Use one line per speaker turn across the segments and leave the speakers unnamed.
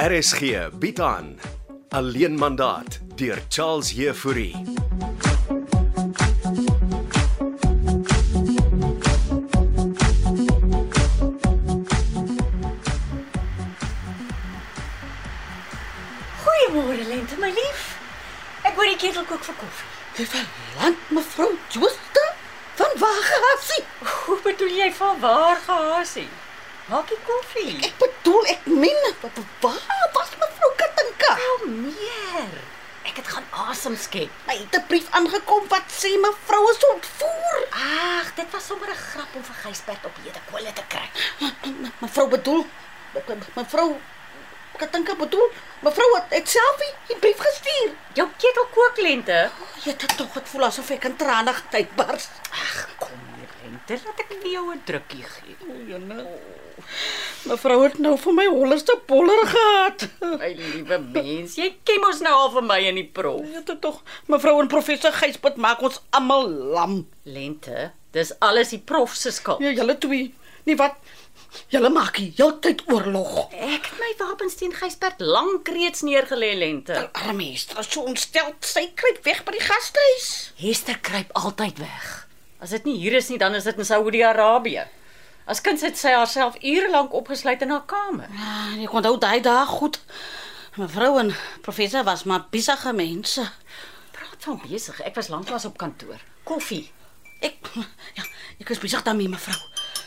RSG bied aan Alleen mandaat deur Charles Heffouri.
Goeiemôre Lente, my lief. Ek hoor die ketel kook vir koffie.
Verland mevrou Jooste van Wagasie.
Hoe bedoel jy van waar gehasie? Maak die koffie.
Ek bedoel ek min wat waar was mevrou Katinka?
Kom meer. Ek het gaan asem skep.
My het 'n brief aangekom wat sê mevrou is ontvoer.
Ag, dit was sommer 'n grap om vir Gysbert op hierdie kolle te kry.
Mevrou bedoel me- me- mevrou Katinka bedoel mevrou het, het self die- die brief gestuur.
Jou ketel kook Lente.
Jy het tog het voel asof ek in trane uitbars.
Ag, kom hier Lente, laat ek vir jou 'n drukkie gee. nou,
Mevrou het nou vir my hollerste boller gehad.
My liewe mens, jy ken ons nou al vir my in die prof.
Jy het tog mevrou en professor Gysbert maak ons almal lam.
Lente, dis alles die prof se skuld.
Ja, julle twee. Nee, wat? Julle maak hier heeltyd oorlog.
Ek het my wapens teen Gysbert lank reeds neergelê Lente.
Armeester, so ontstel, sy kruip weg by die gastehuis.
Hester kruip altyd weg. As dit nie hier is nie, dan is dit in Saudi-Arabië. As kind sit sy haarself ure lank opgesluit in haar kamer.
Ja, ek onthou daai dag goed. Mevrou en professor was maar besige mense.
Praat van besig. Ek was lanklaas op kantoor. Koffie.
Ek ja, ek is besig daarmee mevrou.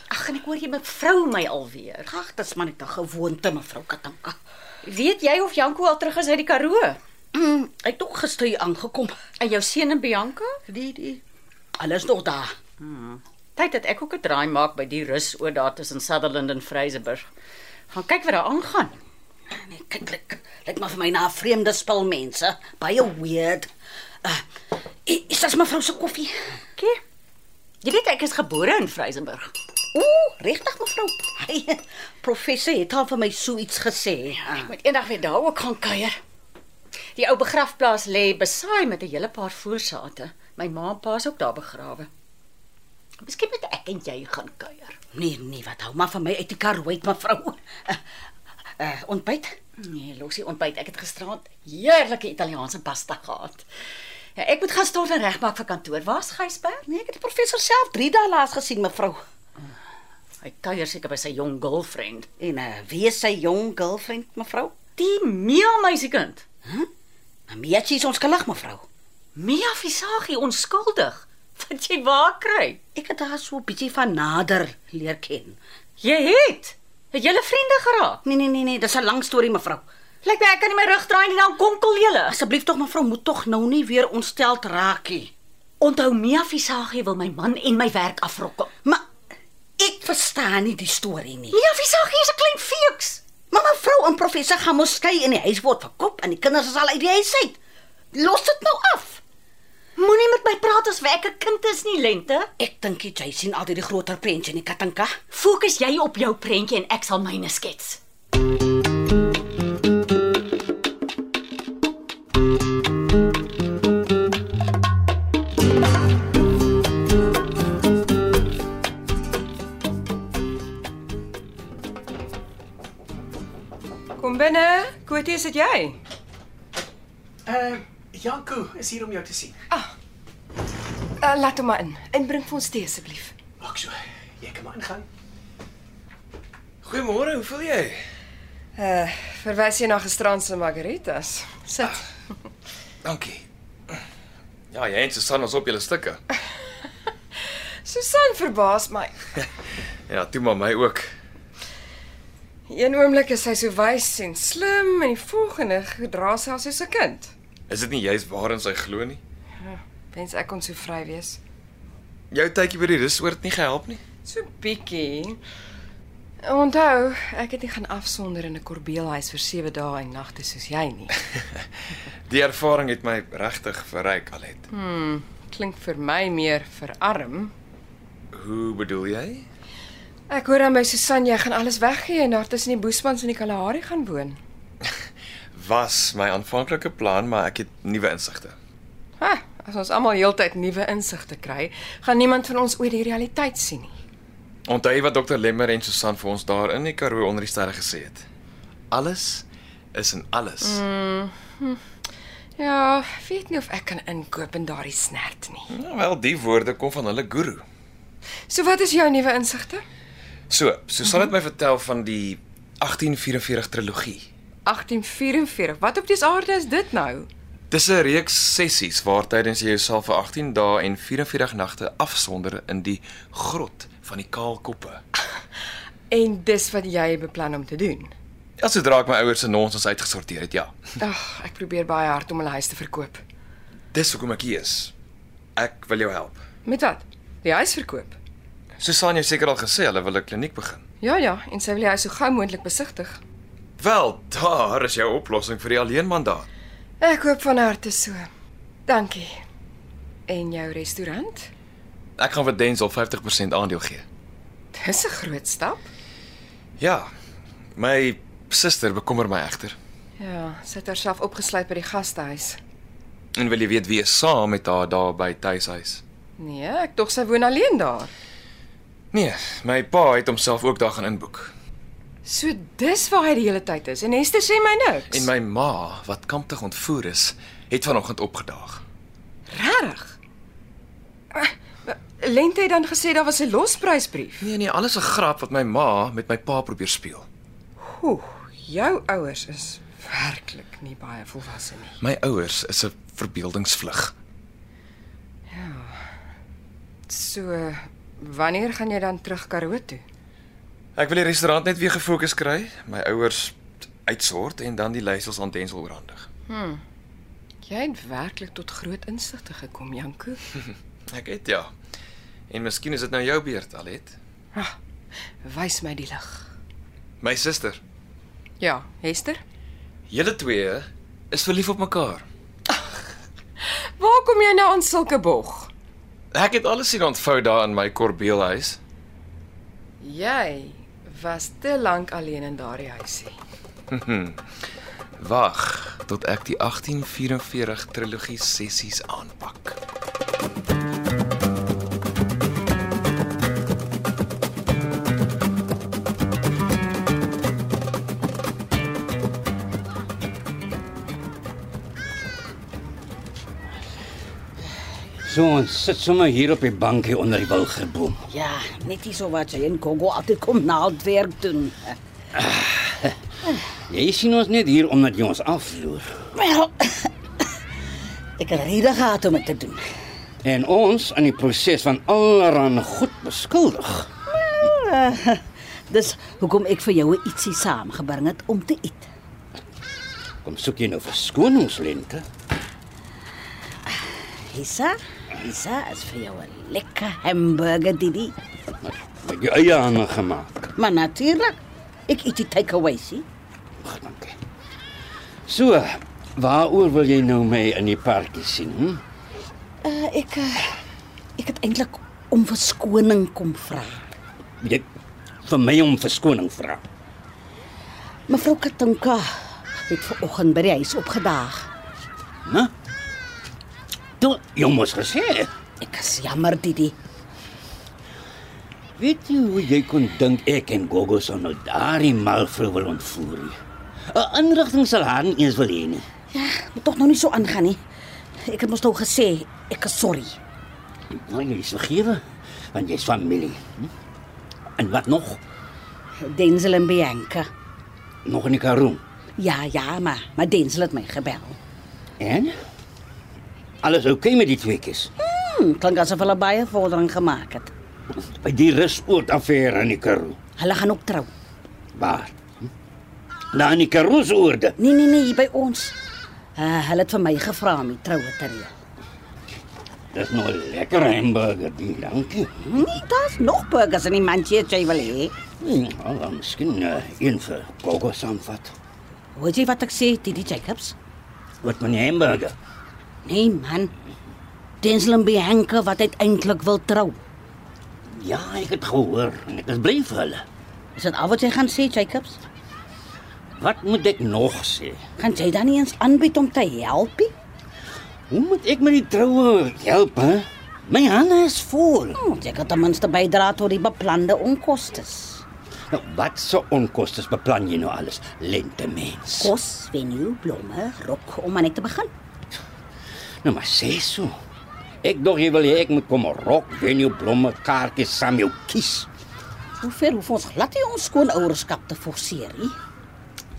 Ag, en ek hoor jy mevrou my alweer.
Ag, dis maar net 'n gewoonte mevrou Katanka.
Weet jy of Janko al terug is uit die Karoo?
Mm, hy het ook gister hier aangekom.
En jou seun en Bianca?
Die die alles nog daar.
Tyd dat ek ook 'n draai maak by die rus oor daar tussen Sutherland en Fraserburg. Gaan kyk wat daar aangaan.
Nee, kyk, kyk, kyk maar vir my na 'n vreemde spul mense, baie weird. Uh, i- is dit mevrou se koffie?
Kie. Jy weet ek is gebore in Fraserburg.
Ooh, regtig mevrou. Hy professor het al vir my so iets gesê.
Ek moet eendag weer daar ook gaan kuier. Die ou begrafplaas lê besaai met 'n hele paar voorsate. My ma en pa is ook daar begrawe. Miskien moet ek en jy gaan kuier.
Nee, nee, wat hou maar van my uit die kar uit mevrou. Uh, uh, ontbyt?
Nee, los die ontbyt. Ek het gisteraand heerlike Italiaanse pasta gehad. Ja, ek moet gaan stort en regmaak vir kantoor. Waar's Gysbert?
Nee, ek het die professor self 3 dae laas gesien mevrou.
Hy kuier seker by sy jong girlfriend.
En uh, wie is sy jong girlfriend mevrou?
Die Mia meisiekind.
Mamietjie is ons gelig mevrou.
Mia Visagie onskuldig. Wat jy waar kry?
Ek het haar so 'n bietjie van nader leer ken.
Jy het. Het julle vriende geraak?
Nee, nee, nee, nee, dis 'n lang storie mevrou.
Lyk my ek kan nie my rug draai nie, dan konkel julle.
Asseblief tog mevrou, moet tog nou nie weer ontsteld raak nie.
Onthou Mia Visagie wil my man en my werk afrokkel.
Maar ek verstaan nie die storie nie.
Mia Visagie is 'n klein feuks.
Maar mevrou en professor gaan mos skei in die huis word verkop en die kinders is al uit die huis uit. Los dit nou af.
Moenie met my praat asof ek 'n kind is nie, Lente.
Ek dink jy sien altyd die groter prentjie in die Katanka.
Fokus jy op jou prentjie en ek sal myne skets.
Kom binne. Kotie, is dit jy?
Eh,
Uh Janko is hier om jou te sien.
Uh, laat hom maar in. Inbring vir ons tee asseblief.
Maak so. Jy kan maar ingaan. Goeiemôre, hoe voel jy?
Uh, verwys jy na gisterand se margaritas? Sit.
Dankie. Ja, jy en Susan ons op julle stukke.
Susan verbaas my.
Ja, toe maar my ook.
Een oomblik is sy so wys en slim en die volgende gedra sy haar soos 'n kind.
Is dit nie juist waarin sy glo nie?
Wens ek kon so vry wees.
Jou tydjie by die rusoort nie gehelp nie.
So bietjie. Onthou, ek het nie gaan afsonder in 'n korbeelhuis vir 7 dae en nagte soos jy nie.
Die ervaring het my regtig verryk, Alet.
Klink vir my meer verarm.
Hoe bedoel jy?
Ek hoor aan my Susan jy gaan alles weggee en daar tussen die Boesmans en die Kalahari gaan woon.
Was my aanvanklike plan, maar ek het nuwe insigte.
Ha, as ons almal heeltyd nuwe insigte kry, gaan niemand van ons ooit die realiteit sien nie.
Onthou jy wat dokter Lemmer en Susan vir ons daar in die Karoo onder die sterre gesê het? Alles is en alles.
Ja, weet nie of ek kan inkoop in daardie snert nie.
Nou, wel, die woorde kom van hulle guru.
So wat is jou nuwe insigte?
So, Susan het my vertel van die 1844 trilogie.
1844. Wat op die aarde is dit nou?
Dis 'n reeks sessies waar tydens jy jouself vir 18 dae en 44 nagte afsonder in die grot van die kaalkoppe.
En dis wat jy beplan om te doen.
Ja, sodra ek my ouers se nonsens uitgesorteer het, ja.
Ag, ek probeer baie hard om hulle huis te verkoop.
Dis hoekom ek hier is. Ek wil jou help.
Met wat? Die huis verkoop.
Susan het jou seker al gesê hulle wil 'n kliniek begin.
Ja ja, en sy wil die huis so gou moontlik besigtig.
Wel, daar is jou oplossing vir die alleenmandaat.
Ek hoop van harte so. Dankie. En jou restaurant?
Ek gaan vir Denzel 50% aandeel gee.
Dis 'n groot stap.
Ja. My suster bekommer my egter.
Ja, sy het haarself opgesluit by die gastehuis.
En wil jy weet wie is saam met haar daar by tuishuis?
Nee, ek dog sy woon alleen daar.
Nee, my pa het homself ook daar gaan inboek.
So dis waar hy die hele tyd is. En Hester sê my niks.
En my ma, wat kamptig ontvoer is, het vanoggend opgedaag.
regtig. Ah, Lente het dan gesê daar was 'n losprysbrief.
Nee nee, alles 'n grap wat my ma met my pa probeer speel.
Oeh, jou ouers is werklik nie baie volwasse nie.
My ouers is 'n verbeeldingsvlug.
So wanneer gaan jy dan terug Karoo toe?
Ek wil die restaurant net weer gefokus kry, my ouers uitsort en dan die leiersels aan Denzel oorhandig.
Jy het werklik tot groot insigte gekom, Janko.
Ek het ja. En miskien is dit nou jou beurt, Alet.
Ah, wys my die lig.
My suster.
Ja, Hester.
Julle twee is verlief op mekaar.
Waar kom jy nou aan sulke bog?
Ek het alles sien ontvou daar in my korbeelhuis.
Jy was te lank alleen in daardie huisie.
Wag tot ek die 1844 trilogie sessies aanpak.
So ons sit sommer hier op die bankie onder die wilgerboom.
Ja, net nie so wat jy in Kongo altyd kom na het werk doen.
Jy sien ons net hier omdat jy ons afloer.
Wel. Ek het rede gehad om dit te doen.
En ons in die proses van allerhande goed beskuldig.
Dis hoekom ek vir jou ietsie saamgebring het om te eet.
Kom soek jy nou verskoningslente?
Hissa, Hissa is vir jou 'n lekker hamburger didi.
Met jou eie hande gemaak.
Maar natuurlik, ek eet die takeaway sien.
Ag, dankie. So, waaroor wil jy nou my in die parkie sien? Hm?
Uh, ek uh, ek het eintlik om verskoning kom vra.
Jy vir my om verskoning vra.
Mevrou Katinka het vanoggend by die huis opgedaag.
Né? hm? Toe, jy moes gesê.
Ek is jammer didi.
Weet jy hoe jy kon dink ek en Gogo sou nou daardie malvrou wil ontvoer? nie? 'n Inrigting sal haar nie eens wil hê nie.
Ja, moet tog nog nie so aangaan nie. Ek het mos nou gesê ek is sorry.
Nou jy is vergewe, want jy's familie. Hm? En wat nog?
Denzel en Bianca.
Nog in die karoon.
Ja, ja, maar maar Denzel het my gebel.
En? Alles oukei okay met die tweeetjies?
Hm, klink asof hulle baie vordering gemaak het.
By die rusoort affære in die karoon.
Hulle gaan ook trou.
Waar? Hm? Daar in die karoon se oorde.
Nee nee nee, hier by ons. Uh, hulle het vir my gevra om die troue te reël.
Dis nou 'n lekker hamburger, die, dankie.
Nee, daar's nog burgers in die mandjie wat jy wil hê.
Hm, nou, dan miskien uh, een vir Gogo saamvat.
Hoor jy wat ek sê, Didi Jacobs?
Wat van die hamburger?
Nee man. Denzel en Bianca wat uiteindelik wil trou.
Ja, ek het gehoor en ek is bly vir hulle.
Is dit al wat jy gaan sê, Jacobs?
Wat moet ek nog sê?
Gaan jy dan nie eens aanbied om te help? nie?
Hoe moet ek met die troue help, hè? My hande is vol.
Hm, jy kan ten minste bydra tot die beplande onkoste.
Nou, wat so onkoste beplan jy nou alles? Lente mens.
Kos, venue, blomme, rok om maar net te begin.
Nou maar sê so. Ek dog jy wil hê ek moet kom rok, venue, blomme, kaartjies saam jou kies.
Hoe ver hoef ons glad nie ons skoonouerskap te forceer nie.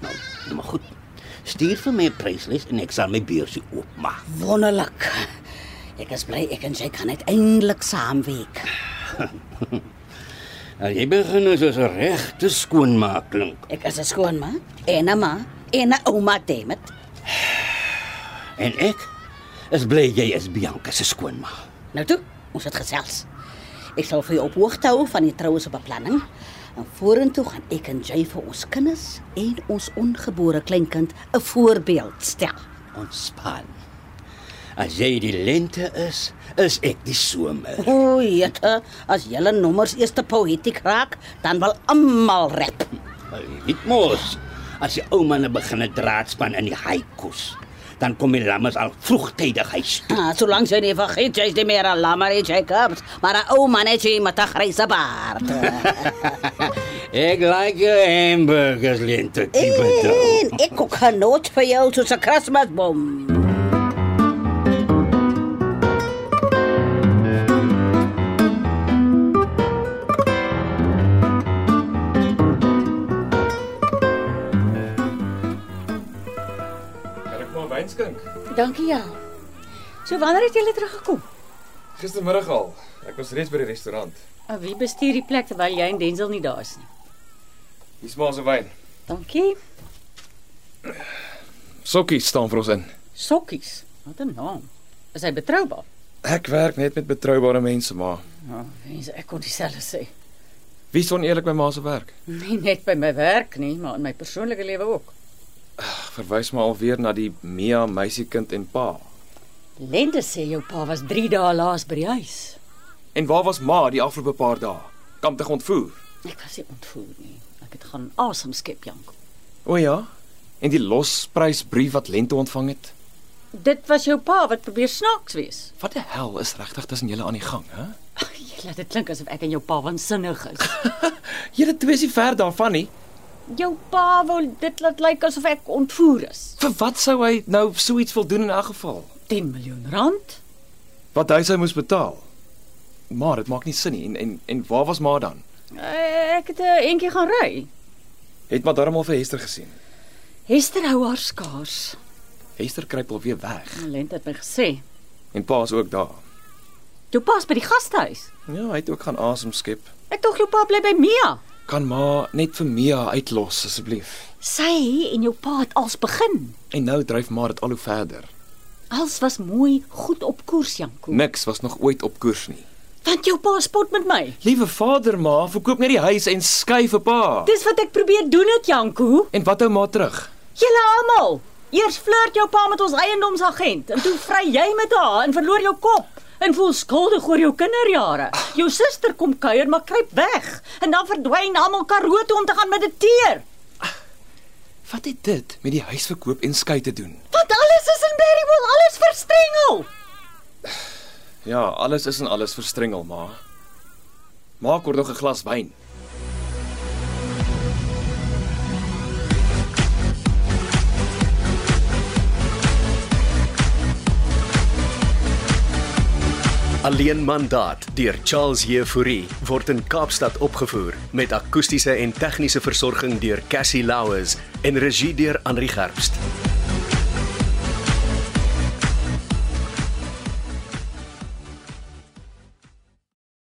Nou, nou maar goed. Stuur vir my 'n pryslys en ek sal my beursie oopmaak.
Wonderlik. Ek is bly ek en jy kan uiteindelik saamwerk.
Nou, jy begin nou soos 'n regte skoonmaak klink.
Ek is 'n skoonma en 'n ma en 'n ouma, dammit.
En ek is bly jy is Bianca se skoonma.
Nou toe, ons het gesels. Ek sal vir jou op hoogte hou van die troue se beplanning. En vorentoe gaan ek en jy vir ons kinders en ons ongebore kleinkind 'n voorbeeld stel.
Ontspan. As jy die lente is, is ek die somer.
O, jette, as julle nommers eers te poëtiek raak, dan wil almal rap.
Dit mos. As die ou manne begin 'n draadspan in die haikus, dan kom die lammers al vroegtydig huis. toe.
Ah, solank jy nie vergeet jy's nie meer 'n lammer, Jacobs, maar 'n ou mannetjie met 'n gryse baard.
Ek like jou hamburgers lente tipe ding.
en ek kook genoot vir jou soos 'n Kersbom.
Kan ek maar wyn skink?
Dankie ja. So wanneer het julle teruggekom?
Gistermiddag al. Ek was reeds by die restaurant.
En Ah, wie bestuur die plek terwyl jy en Denzel nie daar is nie?
Hier's maar se wyn.
Dankie.
Sokkies staan vir ons in.
Sokkies. Wat 'n naam. Is hy betroubaar?
Ek werk net met betroubare mense, maar
Ja, mense, ek kon dieselfde sê.
wie is oneerlik by ma se werk?
Nie net by my werk nie, maar in my persoonlike lewe ook.
Verwys maar alweer na die Mia meisiekind en pa.
Lende sê jou pa was 3 dae laas by die huis.
En waar was ma die afgelope paar dae? Kamptig ontvoer.
Ek was nie ontvoer nie. Ek het gaan asem skep, Jank.
O ja. En die losprysbrief wat Lente ontvang het.
Dit was jou pa wat probeer snaaks wees.
Wat die hel is regtig tussen julle aan die gang, hè?
Ag, jy laat dit klink asof ek en jou pa waansinnig is.
Julle twee is nie ver daarvan nie.
Jou pa wil dit laat lyk asof ek ontvoer is.
Vir wat sou hy nou so iets wil doen in 'n geval?
10 miljoen rand?
Wat hy sou moes betaal. Maar dit maak nie sin nie. En en en waar was ma dan?
Eh, Ek het 'n entjie gaan ry.
Het maar darmal vir Hester gesien.
Hester hou haar skaars.
Hester kruip alweer weg
Lent het my gesê,
en pa is ook daar.
"Jou pa's by die gastehuis."
Ja, hy het ook gaan asem skep.
Ek dink jou pa bly by Mia.
Kan ma net vir Mia uitlos asseblief?
Sy en jou pa het als begin.
En nou dryf maar dit al hoe verder.
Als was mooi goed op koers, Janko.
Niks was nog ooit op koers nie.
Want jou pa spot met my.
Liewe vader ma, verkoop net die huis en skei vir pa.
Dis wat ek probeer doen het, Janko.
En wat hou ma terug?
Julle almal. Eers flirt jou pa met ons eiendomsagent en toe vry jy met haar en verloor jou kop en voel skuldig oor jou kinderjare. Jou suster kom kuier maar kruip weg en dan verdwyn almal Karoo toe om te gaan mediteer.
Wat het dit met die huisverkoop en skei te doen?
Want alles is in Berrywell, alles verstrengel.
Ja, alles is en alles verstrengel, ma. Maak oor nog 'n glas wyn.
Alleen mandaat deur Charles Jefouri word in Kaapstad opgevoer met akoestiese en tegniese versorging deur Cassie Louws en regie deur Henri Gerst.